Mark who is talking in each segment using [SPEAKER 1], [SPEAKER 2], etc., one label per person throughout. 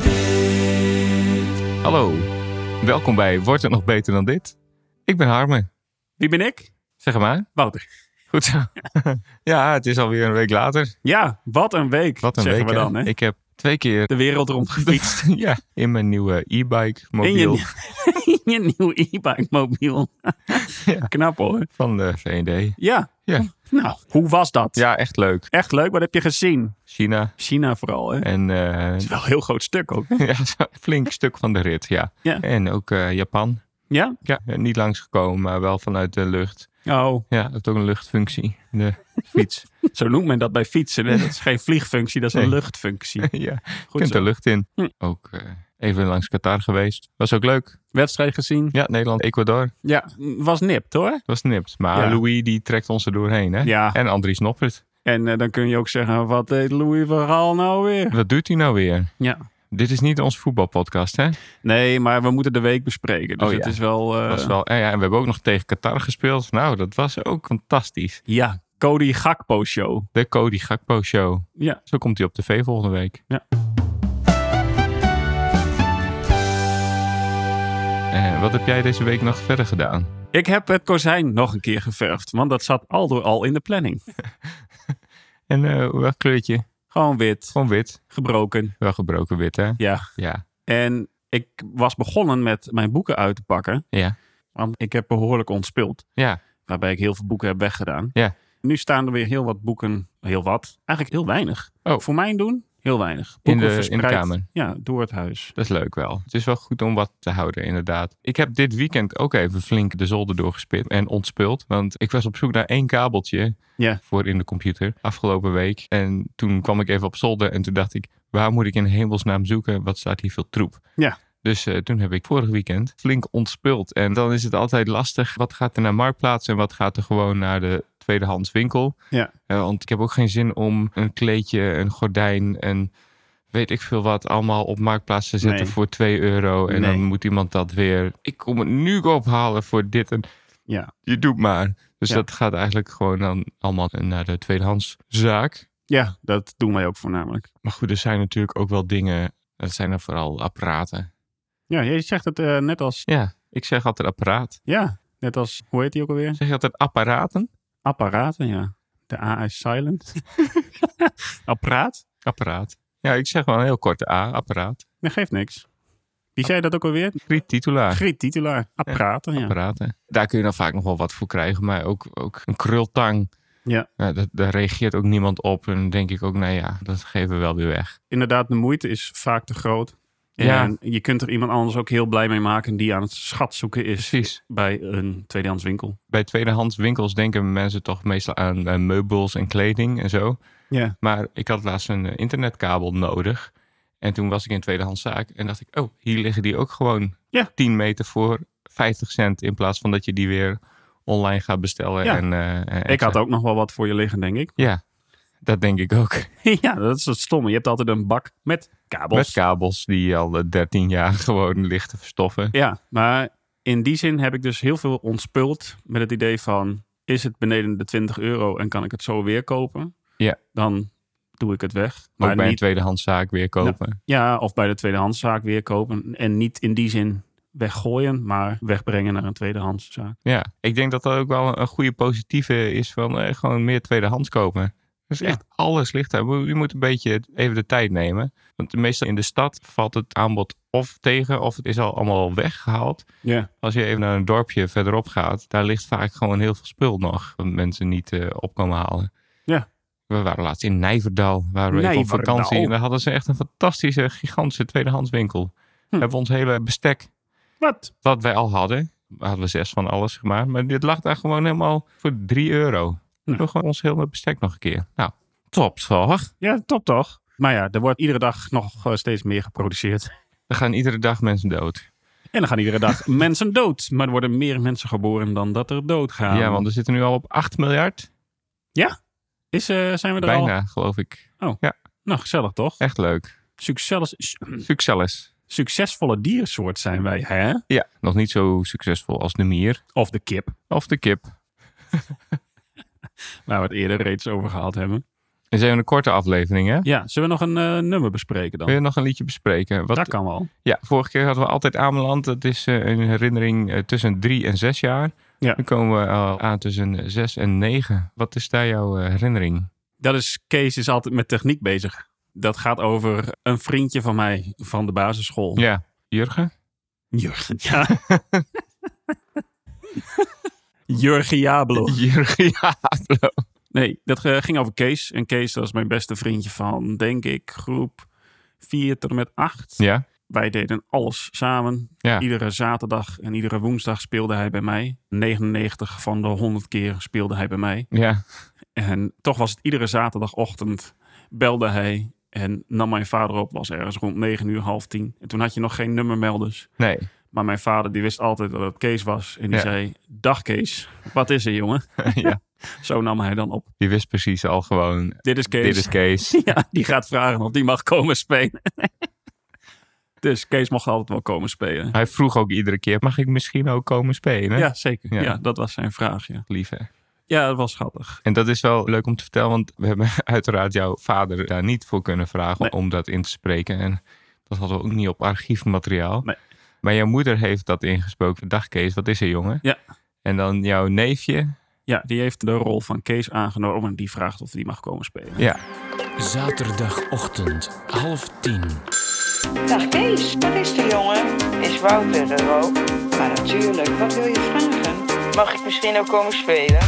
[SPEAKER 1] dus?
[SPEAKER 2] Hallo, welkom bij Wordt het nog beter dan dit? Ik ben Harme,
[SPEAKER 3] Wie ben ik?
[SPEAKER 2] zeg hem aan.
[SPEAKER 3] Wouter.
[SPEAKER 2] Goed zo. ja, het is alweer een week later.
[SPEAKER 3] Ja, wat een week,
[SPEAKER 2] Wat een
[SPEAKER 3] zeggen
[SPEAKER 2] week
[SPEAKER 3] we
[SPEAKER 2] hè?
[SPEAKER 3] dan. Hè?
[SPEAKER 2] Ik heb twee keer
[SPEAKER 3] De wereld rond gefietst
[SPEAKER 2] ja, in mijn nieuwe e-bike
[SPEAKER 3] in
[SPEAKER 2] mobiel
[SPEAKER 3] je, in je nieuwe e-bike mobiel.
[SPEAKER 2] Ja.
[SPEAKER 3] Knap hoor.
[SPEAKER 2] van de V&D.
[SPEAKER 3] Ja.
[SPEAKER 2] Ja.
[SPEAKER 3] Nou, hoe was dat?
[SPEAKER 2] Ja, echt leuk.
[SPEAKER 3] Echt leuk, wat heb je gezien?
[SPEAKER 2] China
[SPEAKER 3] China vooral, hè? Het
[SPEAKER 2] en eh,
[SPEAKER 3] is wel een heel groot stuk ook. hè?
[SPEAKER 2] ja, zo'n flink stuk van de rit, ja.
[SPEAKER 3] Ja.
[SPEAKER 2] En ook eh, Japan.
[SPEAKER 3] Ja?
[SPEAKER 2] Ja, eh, niet langsgekomen, maar wel vanuit de lucht.
[SPEAKER 3] Oh,
[SPEAKER 2] Ja, het heeft ook een luchtfunctie, de fiets.
[SPEAKER 3] zo noemt men dat bij fietsen. Hè? Dat is geen vliegfunctie, dat is een
[SPEAKER 2] Nee.
[SPEAKER 3] luchtfunctie.
[SPEAKER 2] ja,
[SPEAKER 3] Goed
[SPEAKER 2] kunt de
[SPEAKER 3] zo.
[SPEAKER 2] lucht in.
[SPEAKER 3] Hm.
[SPEAKER 2] Ook eh, even langs Qatar geweest. Was ook leuk.
[SPEAKER 3] Wedstrijd gezien.
[SPEAKER 2] Ja, Nederland-Ecuador.
[SPEAKER 3] Ja, was nipt hoor.
[SPEAKER 2] Dat was nipt. Maar
[SPEAKER 3] Ja.
[SPEAKER 2] Louis die trekt ons er doorheen. Hè?
[SPEAKER 3] Ja,
[SPEAKER 2] En Andries Noppert.
[SPEAKER 3] en eh, dan kun je ook zeggen, wat deed Louis Verhaal nou weer?
[SPEAKER 2] Wat doet hij nou weer?
[SPEAKER 3] Ja.
[SPEAKER 2] Dit is niet onze voetbalpodcast, hè?
[SPEAKER 3] Nee, maar we moeten de week bespreken. Dus
[SPEAKER 2] Oh, ja.
[SPEAKER 3] het is wel... eh,
[SPEAKER 2] Dat was wel, eh, ja, en we hebben ook nog tegen Qatar gespeeld. Nou, dat was ook fantastisch.
[SPEAKER 3] Ja, Cody Gakpo Show.
[SPEAKER 2] De Cody Gakpo Show.
[SPEAKER 3] Ja.
[SPEAKER 2] Zo komt hij op tv volgende week.
[SPEAKER 3] Ja.
[SPEAKER 2] Eh, wat heb jij deze week nog verder gedaan?
[SPEAKER 3] Ik heb het kozijn nog een keer geverfd, want dat zat al door al in de planning.
[SPEAKER 2] En eh welk kleurtje?
[SPEAKER 3] Gewoon wit,
[SPEAKER 2] Gewoon wit.
[SPEAKER 3] gebroken.
[SPEAKER 2] Wel gebroken wit, hè?
[SPEAKER 3] Ja.
[SPEAKER 2] Ja.
[SPEAKER 3] En ik was begonnen met mijn boeken uit te pakken,
[SPEAKER 2] Ja.
[SPEAKER 3] want ik heb behoorlijk ontspild.
[SPEAKER 2] Ja.
[SPEAKER 3] Waarbij ik heel veel boeken heb weggedaan.
[SPEAKER 2] Ja.
[SPEAKER 3] Nu staan er weer heel wat boeken, heel wat, eigenlijk heel weinig.
[SPEAKER 2] Oh.
[SPEAKER 3] Voor mijn doen, heel weinig.
[SPEAKER 2] In
[SPEAKER 3] Boeken
[SPEAKER 2] de- in de
[SPEAKER 3] verspreid,
[SPEAKER 2] kamer.
[SPEAKER 3] Ja, door het huis.
[SPEAKER 2] Dat is leuk wel. Het is wel goed om wat te houden, inderdaad. Ik heb dit weekend ook even flink de zolder doorgespit en ontspult. Want ik was op zoek naar één kabeltje
[SPEAKER 3] Ja.
[SPEAKER 2] voor in de computer afgelopen week. En toen kwam ik even op zolder en toen dacht ik, waar moet ik in hemelsnaam zoeken? Wat staat hier veel troep?
[SPEAKER 3] Ja.
[SPEAKER 2] Dus eh, toen heb ik vorig weekend flink ontspult. En dan is het altijd lastig. Wat gaat er naar Marktplaats en wat gaat er gewoon naar de tweedehands winkel?
[SPEAKER 3] Ja.
[SPEAKER 2] Eh, want ik heb ook geen zin om een kleedje, een gordijn, een weet ik veel wat, allemaal op marktplaats te zetten
[SPEAKER 3] Nee.
[SPEAKER 2] voor 2 euro. En
[SPEAKER 3] Nee.
[SPEAKER 2] dan moet iemand dat weer. Ik kom het nu ophalen voor dit. En
[SPEAKER 3] Ja.
[SPEAKER 2] je doet maar. Dus
[SPEAKER 3] Ja.
[SPEAKER 2] dat gaat eigenlijk gewoon dan allemaal naar de tweedehandszaak.
[SPEAKER 3] Ja, dat doen wij ook voornamelijk.
[SPEAKER 2] Maar goed, er zijn natuurlijk ook wel dingen. Dat zijn dan vooral apparaten.
[SPEAKER 3] Ja, je zegt het eh, net als,
[SPEAKER 2] Ja, ik zeg altijd apparaat.
[SPEAKER 3] ja, net als, hoe heet die ook alweer?
[SPEAKER 2] Zeg je altijd apparaten?
[SPEAKER 3] Apparaten, ja. De A is silent. Apparaat?
[SPEAKER 2] Apparaat. Ja, ik zeg wel een heel korte A, apparaat.
[SPEAKER 3] Dat geeft niks. Wie zei dat ook alweer?
[SPEAKER 2] Griet titulaar.
[SPEAKER 3] Griet titulaar. Apparaten, ja.
[SPEAKER 2] apparaten. Daar kun je dan vaak nog wel wat voor krijgen, maar ook, ook een krultang.
[SPEAKER 3] Ja.
[SPEAKER 2] Nou, dat, daar reageert ook niemand op. En dan denk ik ook, nou ja, dat geven we wel weer weg.
[SPEAKER 3] Inderdaad, de moeite is vaak te groot. En
[SPEAKER 2] Ja.
[SPEAKER 3] je kunt er iemand anders ook heel blij mee maken die aan het schat zoeken is
[SPEAKER 2] Precies.
[SPEAKER 3] bij een tweedehands winkel.
[SPEAKER 2] Bij tweedehands winkels denken mensen toch meestal aan eh, meubels en kleding en zo.
[SPEAKER 3] Ja.
[SPEAKER 2] Maar ik had laatst een eh, internetkabel nodig. En toen was ik in een tweedehandszaak en dacht ik, oh, hier liggen die ook gewoon
[SPEAKER 3] Ja.
[SPEAKER 2] 10 meter voor 50 cent. In plaats van dat je die weer online gaat bestellen.
[SPEAKER 3] Ja.
[SPEAKER 2] En, eh, en-
[SPEAKER 3] Ik had ook nog wel wat voor je liggen, denk ik.
[SPEAKER 2] Ja, dat denk ik ook.
[SPEAKER 3] ja, dat is het stomme. Je hebt altijd een bak met kabels.
[SPEAKER 2] Met kabels die al eh, 13 jaar gewoon ligt te verstoffen.
[SPEAKER 3] Ja, maar in die zin heb ik dus heel veel ontspult met het idee van... is het beneden de 20 euro en kan ik het zo weer kopen?
[SPEAKER 2] Ja.
[SPEAKER 3] Dan doe ik het weg.
[SPEAKER 2] ook
[SPEAKER 3] Maar
[SPEAKER 2] bij een
[SPEAKER 3] niet, Nou,
[SPEAKER 2] tweedehandszaak weer kopen.
[SPEAKER 3] ja, of bij de tweedehandszaak weer kopen. En niet in die zin weggooien, maar wegbrengen naar een tweedehandszaak.
[SPEAKER 2] Ja. ik denk dat dat ook wel een goede positieve is van eh, gewoon meer tweedehands kopen. Dus
[SPEAKER 3] Ja.
[SPEAKER 2] echt alles ligt daar. Je moet een beetje even de tijd nemen. Want meestal in de stad valt het aanbod of tegen of het is al allemaal weggehaald.
[SPEAKER 3] Ja.
[SPEAKER 2] Als je even naar een dorpje verderop gaat, daar ligt vaak gewoon heel veel spul nog. Wat mensen niet eh, op komen halen.
[SPEAKER 3] Ja.
[SPEAKER 2] We waren laatst in Nijverdal, waren we even op
[SPEAKER 3] Nijverdal.
[SPEAKER 2] vakantie. En daar hadden ze echt een fantastische, gigantische tweedehandswinkel.
[SPEAKER 3] Hm.
[SPEAKER 2] Hebben we ons hele bestek,
[SPEAKER 3] Wat?
[SPEAKER 2] wat wij al hadden, we hadden zes van alles gemaakt. Maar dit lag daar gewoon helemaal voor 3 euro. We hebben gewoon ons hele bestek nog een keer. Nou, top toch?
[SPEAKER 3] Ja, top toch? Maar ja, er wordt iedere dag nog eh, steeds meer geproduceerd.
[SPEAKER 2] Er gaan iedere dag mensen dood.
[SPEAKER 3] En dan gaan iedere dag mensen dood. Maar er worden meer mensen geboren dan dat er doodgaan.
[SPEAKER 2] ja, want we zitten nu al op 8 miljard.
[SPEAKER 3] Is, eh, zijn we er al?
[SPEAKER 2] Bijna, geloof ik.
[SPEAKER 3] Nou, gezellig toch?
[SPEAKER 2] Echt leuk.
[SPEAKER 3] Succes,
[SPEAKER 2] Succes.
[SPEAKER 3] succesvolle diersoort zijn wij, hè?
[SPEAKER 2] Ja, nog niet zo succesvol als de mier
[SPEAKER 3] Of de kip,
[SPEAKER 2] of de kip.
[SPEAKER 3] waar we het eerder reeds over gehad hebben.
[SPEAKER 2] is even een korte aflevering, hè?
[SPEAKER 3] Ja, zullen we nog een eh, nummer bespreken dan?
[SPEAKER 2] Wil je nog een liedje bespreken? Wat,
[SPEAKER 3] Dat kan wel.
[SPEAKER 2] Ja, vorige keer hadden we altijd Ameland. Dat is eh, een herinnering eh, tussen drie en zes jaar.
[SPEAKER 3] Ja.
[SPEAKER 2] Nu komen we al aan tussen eh, zes en negen. Wat is daar jouw eh, herinnering?
[SPEAKER 3] Dat is, Kees is altijd met techniek bezig. Dat gaat over een vriendje van mij van de basisschool.
[SPEAKER 2] Ja, Jurgen?
[SPEAKER 3] Jurgen, ja. Jurgen Jablo.
[SPEAKER 2] Jurgen, ja.
[SPEAKER 3] Nee, dat eh, ging over Kees. En Kees was mijn beste vriendje van, denk ik, groep 4 tot en met 8.
[SPEAKER 2] Ja,
[SPEAKER 3] Wij deden alles samen.
[SPEAKER 2] Ja.
[SPEAKER 3] Iedere zaterdag en iedere woensdag speelde hij bij mij. 99 van de 100 keer speelde hij bij mij.
[SPEAKER 2] ja.
[SPEAKER 3] En toch was het iedere zaterdagochtend belde hij en nam mijn vader op. Was ergens rond 9 uur, half 10. En toen had je nog geen nummermelders.
[SPEAKER 2] Nee.
[SPEAKER 3] Maar mijn vader die wist altijd dat het Kees was. En die
[SPEAKER 2] Ja.
[SPEAKER 3] zei, dag Kees, wat is er jongen?
[SPEAKER 2] ja.
[SPEAKER 3] Zo nam hij dan op.
[SPEAKER 2] Die wist precies al gewoon,
[SPEAKER 3] Dit is Kees.
[SPEAKER 2] dit is Kees.
[SPEAKER 3] Ja, die gaat vragen of die mag komen spelen. dus Kees mocht altijd wel komen spelen.
[SPEAKER 2] Hij vroeg ook iedere keer, mag ik misschien ook komen spelen?
[SPEAKER 3] Ja, zeker.
[SPEAKER 2] Ja.
[SPEAKER 3] Ja. dat was zijn vraag. Ja.
[SPEAKER 2] Lief, hè?
[SPEAKER 3] ja, dat was schattig.
[SPEAKER 2] En dat is wel leuk om te vertellen, want we hebben uiteraard jouw vader daar niet voor kunnen vragen
[SPEAKER 3] Nee.
[SPEAKER 2] om dat in te spreken. En dat hadden we ook niet op archiefmateriaal.
[SPEAKER 3] Nee.
[SPEAKER 2] Maar jouw moeder heeft dat ingesproken. Dag Kees, wat is er jongen?
[SPEAKER 3] Ja.
[SPEAKER 2] En dan jouw neefje.
[SPEAKER 3] Ja, die heeft de rol van Kees aangenomen en die vraagt of die mag komen spelen.
[SPEAKER 2] Ja,
[SPEAKER 4] Zaterdagochtend, half tien.
[SPEAKER 5] Dag Kees, wat is er jongen? Is Wouter er ook? Maar natuurlijk, wat wil je vragen? Mag ik misschien ook komen spelen?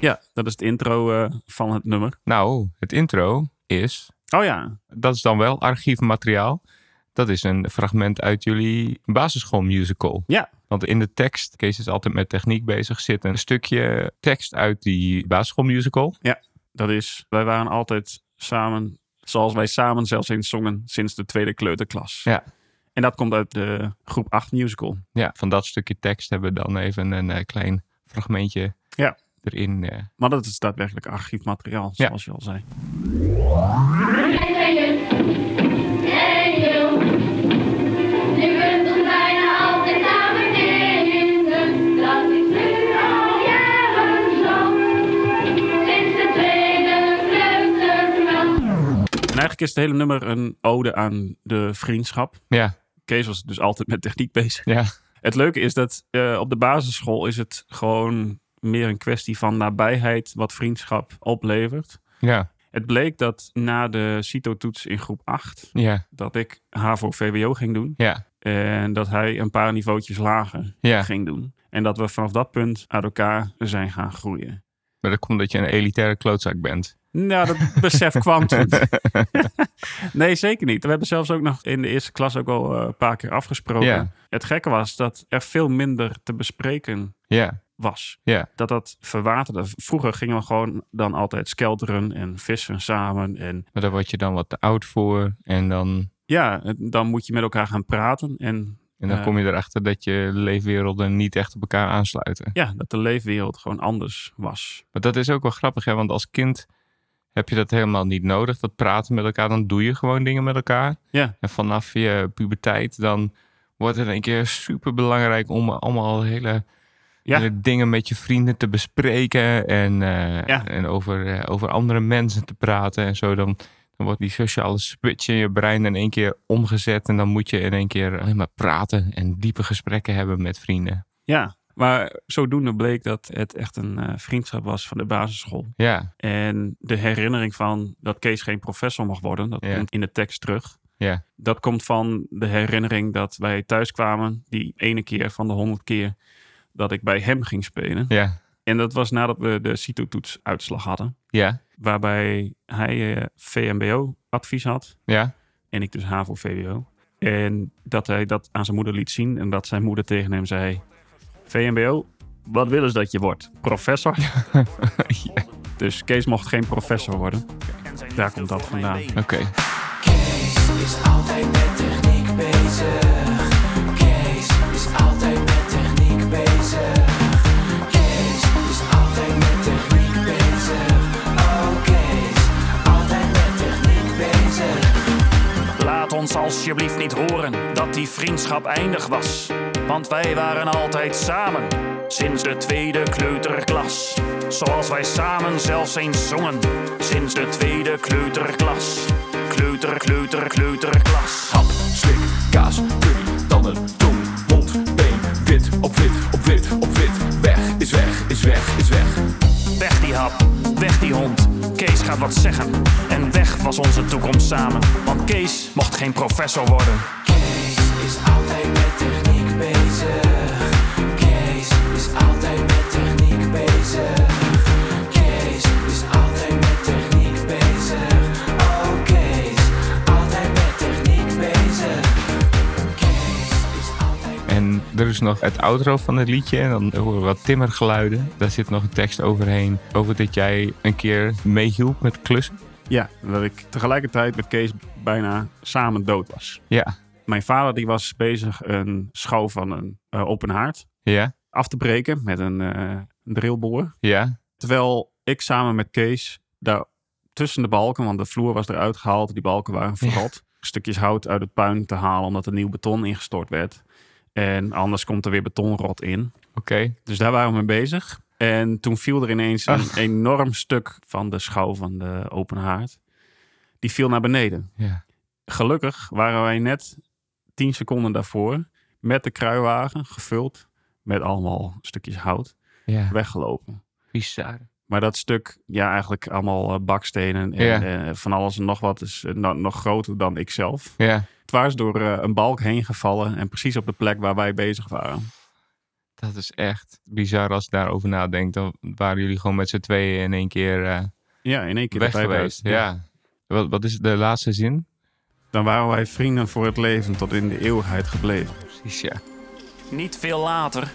[SPEAKER 3] Ja, dat is het intro eh, van het nummer.
[SPEAKER 2] nou, het intro is,
[SPEAKER 3] Oh ja,
[SPEAKER 2] dat is dan wel archiefmateriaal. Dat is een fragment uit jullie basisschoolmusical.
[SPEAKER 3] ja,
[SPEAKER 2] Want in de tekst, Kees is altijd met techniek bezig, zit een stukje tekst uit die basisschoolmusical.
[SPEAKER 3] dat is. Wij waren altijd samen, zoals wij samen zelfs eens zongen sinds de tweede kleuterklas.
[SPEAKER 2] Ja.
[SPEAKER 3] En dat komt uit de groep 8 musical.
[SPEAKER 2] ja, van dat stukje tekst hebben we dan even een eh, klein fragmentje
[SPEAKER 3] Ja.
[SPEAKER 2] erin. eh.
[SPEAKER 3] Maar dat is daadwerkelijk archiefmateriaal,
[SPEAKER 2] Ja.
[SPEAKER 3] zoals je al zei. En eigenlijk is het hele nummer een ode aan de vriendschap.
[SPEAKER 2] Ja,
[SPEAKER 3] Kees was dus altijd met techniek bezig.
[SPEAKER 2] ja,
[SPEAKER 3] Het leuke is dat eh, op de basisschool is het gewoon meer een kwestie van nabijheid wat vriendschap oplevert.
[SPEAKER 2] ja,
[SPEAKER 3] Het bleek dat na de CITO-toets in groep 8,
[SPEAKER 2] ja,
[SPEAKER 3] dat ik HAVO-VWO ging doen.
[SPEAKER 2] ja,
[SPEAKER 3] En dat hij een paar niveautjes lager
[SPEAKER 2] ja.
[SPEAKER 3] ging doen. En dat we vanaf dat punt uit elkaar zijn gaan groeien.
[SPEAKER 2] Maar dat komt dat je een elitaire klootzak bent.
[SPEAKER 3] Nou, dat besef kwam toen. nee, zeker niet. We hebben zelfs ook nog in de eerste klas ook al eh, een paar keer afgesproken.
[SPEAKER 2] Ja.
[SPEAKER 3] Het gekke was dat er veel minder te bespreken
[SPEAKER 2] Ja,
[SPEAKER 3] was.
[SPEAKER 2] Ja.
[SPEAKER 3] Dat dat verwaterde. Vroeger gingen we gewoon dan altijd skelteren en vissen samen. En
[SPEAKER 2] maar daar word je dan wat te oud voor. En dan,
[SPEAKER 3] ja, het- dan moet je met elkaar gaan praten. En
[SPEAKER 2] en dan
[SPEAKER 3] Ja.
[SPEAKER 2] kom je erachter dat je leefwerelden niet echt op elkaar aansluiten.
[SPEAKER 3] ja, dat de leefwereld gewoon anders was.
[SPEAKER 2] Maar dat is ook wel grappig, hè? want als kind heb je dat helemaal niet nodig. Dat praten met elkaar, dan doe je gewoon dingen met elkaar.
[SPEAKER 3] Ja.
[SPEAKER 2] En vanaf je puberteit, dan wordt het in een keer super belangrijk om allemaal hele,
[SPEAKER 3] Ja.
[SPEAKER 2] hele dingen met je vrienden te bespreken. En, eh,
[SPEAKER 3] Ja.
[SPEAKER 2] en over, eh, over andere mensen te praten en zo. Dan, dan wordt die sociale switch in je brein in één keer omgezet. En dan moet je in één keer alleen maar praten en diepe gesprekken hebben met vrienden.
[SPEAKER 3] Ja, maar zodoende bleek dat het echt een eh, vriendschap was van de basisschool.
[SPEAKER 2] Ja,
[SPEAKER 3] En de herinnering van dat Kees geen professor mag worden, dat
[SPEAKER 2] Ja.
[SPEAKER 3] komt in de tekst terug.
[SPEAKER 2] Ja.
[SPEAKER 3] Dat komt van de herinnering dat wij thuis kwamen, die ene keer van de honderd keer dat ik bij hem ging spelen.
[SPEAKER 2] ja,
[SPEAKER 3] En dat was nadat we de CITO-toetsuitslag hadden,
[SPEAKER 2] ja,
[SPEAKER 3] waarbij hij eh, VMBO-advies had
[SPEAKER 2] ja.
[SPEAKER 3] en ik dus HAVO-VWO. En dat hij dat aan zijn moeder liet zien en dat zijn moeder tegen hem zei... VMBO, wat willen ze dat je wordt? Professor? Dus Kees mocht geen professor worden. Daar komt dat vandaan.
[SPEAKER 2] Oké.
[SPEAKER 6] Laat ons alsjeblieft niet horen dat die vriendschap eindig was. Want wij waren altijd samen, sinds de tweede kleuterklas. zoals wij samen zelfs eens zongen. Sinds de tweede kleuterklas. Kleuter, kleuter, kleuterklas.
[SPEAKER 4] Hap, slik, kaas, curry, tanden, tong, mond, been. Wit op wit, op wit, op wit. Weg is weg, is weg, is weg.
[SPEAKER 6] Weg die hap, weg die hond. Kees gaat wat zeggen. En weg was onze toekomst samen. Want Kees mocht geen professor worden.
[SPEAKER 1] Kees is altijd met techniek bezig. Kees is altijd met techniek bezig. Kees is altijd met techniek bezig. Oh Kees, altijd met techniek bezig. Kees is altijd
[SPEAKER 2] En er is nog het outro van het liedje. En dan horen we wat timmergeluiden. Daar zit nog een tekst overheen. Over dat jij een keer meehielp met klussen.
[SPEAKER 3] Ja, dat ik tegelijkertijd met Kees bijna samen dood was.
[SPEAKER 2] Ja.
[SPEAKER 3] Mijn vader die was bezig een schouw van een eh, open haard
[SPEAKER 2] Ja.
[SPEAKER 3] af te breken met een, eh, een drillboor.
[SPEAKER 2] Ja.
[SPEAKER 3] Terwijl ik samen met Kees daar tussen de balken, want de vloer was eruit gehaald, die balken waren verrot, stukjes hout uit het puin te halen omdat er nieuw beton ingestort werd. En anders komt er weer betonrot in.
[SPEAKER 2] Oké.
[SPEAKER 3] Dus daar waren we mee bezig. En toen viel er ineens een enorm stuk van de schouw van de open haard. Die viel naar beneden.
[SPEAKER 2] Ja.
[SPEAKER 3] Gelukkig waren wij net tien seconden daarvoor met de kruiwagen gevuld met allemaal stukjes hout
[SPEAKER 2] Ja.
[SPEAKER 3] weggelopen.
[SPEAKER 2] Bizar.
[SPEAKER 3] Maar dat stuk, ja, eigenlijk allemaal eh, bakstenen en
[SPEAKER 2] Ja.
[SPEAKER 3] eh, van alles en nog wat is eh, no- nog groter dan ik zelf.
[SPEAKER 2] Ja.
[SPEAKER 3] Twaars door eh, een balk heen gevallen en precies op de plek waar wij bezig waren.
[SPEAKER 2] Dat is echt bizar als je daarover nadenkt. Dan waren jullie gewoon met z'n tweeën in één keer eh,
[SPEAKER 3] Ja, in één keer
[SPEAKER 2] weg
[SPEAKER 3] dat wij bij-
[SPEAKER 2] geweest. Ja. Wat, wat is de laatste zin?
[SPEAKER 3] Dan waren wij vrienden voor het leven tot in de eeuwigheid gebleven.
[SPEAKER 2] Precies, ja.
[SPEAKER 6] Niet veel later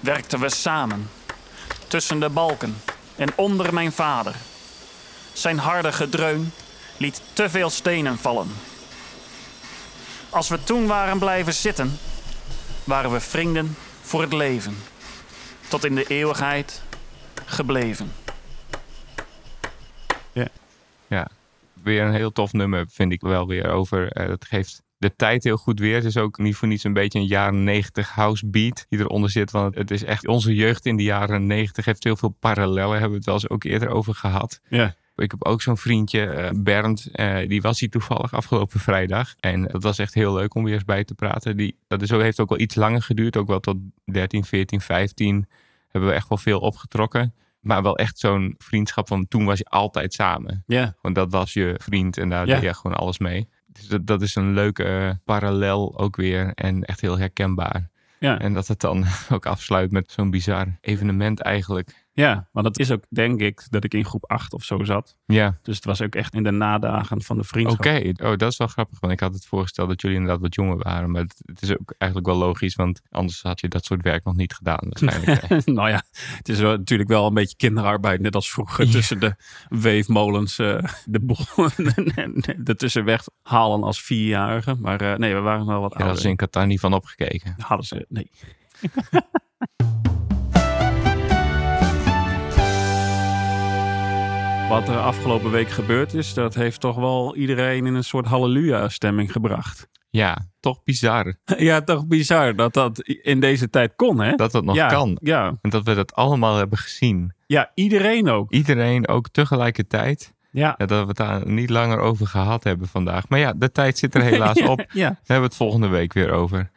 [SPEAKER 6] werkten we samen. Tussen de balken en onder mijn vader. Zijn harde gedreun liet te veel stenen vallen. Als we toen waren blijven zitten, waren we vrienden voor het leven. Tot in de eeuwigheid gebleven.
[SPEAKER 2] Ja, weer een heel tof nummer vind ik wel weer over. eh dat geeft de tijd heel goed weer. Het is ook niet voor niets een beetje een jaren 90 house beat die eronder zit. Want het is echt onze jeugd in de jaren 90 heeft heel veel parallellen. Hebben we het wel eens ook eerder over gehad.
[SPEAKER 3] Ja.
[SPEAKER 2] Ik heb ook zo'n vriendje, eh, Bernd, eh, die was hier toevallig afgelopen vrijdag. En dat was echt heel leuk om weer eens bij te praten. Die, dat is, ook- heeft ook wel iets langer geduurd, ook wel tot 13, 14, 15 hebben we echt wel veel opgetrokken. Maar wel echt zo'n vriendschap van toen was je altijd samen.
[SPEAKER 3] Ja,
[SPEAKER 2] Want dat was je vriend en daar
[SPEAKER 3] Ja.
[SPEAKER 2] deed je gewoon alles mee. Dus dat, dat is een leuke eh, parallel ook weer en echt heel herkenbaar.
[SPEAKER 3] Ja.
[SPEAKER 2] En dat het dan ook afsluit met zo'n bizar evenement eigenlijk.
[SPEAKER 3] ja, want het is ook denk ik dat ik in groep 8 of zo zat.
[SPEAKER 2] Ja,
[SPEAKER 3] Dus het was ook echt in de nadagen van de
[SPEAKER 2] oké.
[SPEAKER 3] vriendschap.
[SPEAKER 2] Oh, dat is wel grappig, want ik had het voorgesteld dat jullie inderdaad wat jonger waren. Maar het, het is ook eigenlijk wel logisch, want anders had je dat soort werk nog niet gedaan waarschijnlijk.
[SPEAKER 3] nou ja, het is wel, natuurlijk wel een beetje kinderarbeid. Net als vroeger tussen de weefmolens eh, de boel de tussenweg halen als vierjarige. Maar eh, nee, we waren wel wat
[SPEAKER 2] Daar hadden
[SPEAKER 3] ouder.
[SPEAKER 2] ze in Qatar niet van opgekeken.
[SPEAKER 3] Hadden ze, nee. Wat er afgelopen week gebeurd is, dat heeft toch wel iedereen in een soort halleluja-stemming gebracht.
[SPEAKER 2] Ja, toch bizar
[SPEAKER 3] Ja, toch bizar dat dat in deze tijd kon, hè?
[SPEAKER 2] dat dat nog
[SPEAKER 3] ja,
[SPEAKER 2] kan.
[SPEAKER 3] Ja,
[SPEAKER 2] En dat we dat allemaal hebben gezien.
[SPEAKER 3] ja, iedereen ook.
[SPEAKER 2] Iedereen ook tegelijkertijd.
[SPEAKER 3] Ja,
[SPEAKER 2] Ja, dat we het daar niet langer over gehad hebben vandaag. Maar ja, de tijd zit er helaas op. Daar
[SPEAKER 3] ja.
[SPEAKER 2] hebben we het volgende week weer over.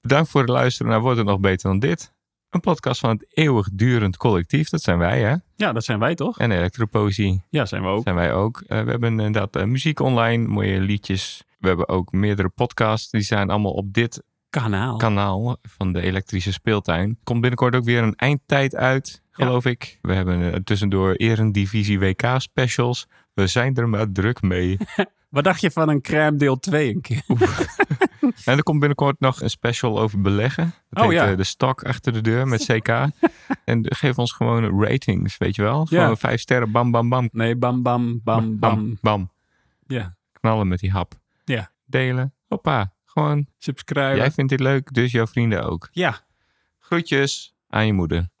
[SPEAKER 2] Bedankt voor het luisteren naar Wordt het nog beter dan dit? Een podcast van het eeuwigdurend collectief. Dat zijn wij, hè?
[SPEAKER 3] ja dat zijn wij toch?
[SPEAKER 2] En Elektropoëzie
[SPEAKER 3] Ja, zijn we ook.
[SPEAKER 2] zijn wij ook. Eh, we hebben inderdaad eh, muziek online, mooie liedjes. We hebben ook meerdere podcasts. Die zijn allemaal op dit
[SPEAKER 3] Kanaal.
[SPEAKER 2] kanaal van de elektrische speeltuin. Komt binnenkort ook weer een eindtijd uit, geloof ik. We hebben eh, tussendoor Eredivisie WK specials. We zijn er maar druk mee.
[SPEAKER 3] Wat dacht je van een crème deel 2 een keer?
[SPEAKER 2] En er komt binnenkort nog een special over beleggen. Dat
[SPEAKER 3] Oh,
[SPEAKER 2] heet
[SPEAKER 3] ja.
[SPEAKER 2] eh, de stok achter de deur met CK. en geef ons gewoon ratings, weet je wel? Gewoon
[SPEAKER 3] Ja.
[SPEAKER 2] vijf sterren, bam, bam, bam.
[SPEAKER 3] Nee, bam, bam, bam, bam.
[SPEAKER 2] bam.
[SPEAKER 3] Ja.
[SPEAKER 2] Knallen met die hap.
[SPEAKER 3] Ja.
[SPEAKER 2] Delen. Hoppa. Gewoon,
[SPEAKER 3] Subscribe.
[SPEAKER 2] jij vindt dit leuk, dus jouw vrienden ook.
[SPEAKER 3] Ja.
[SPEAKER 2] Groetjes aan je moeder.
[SPEAKER 1] dus?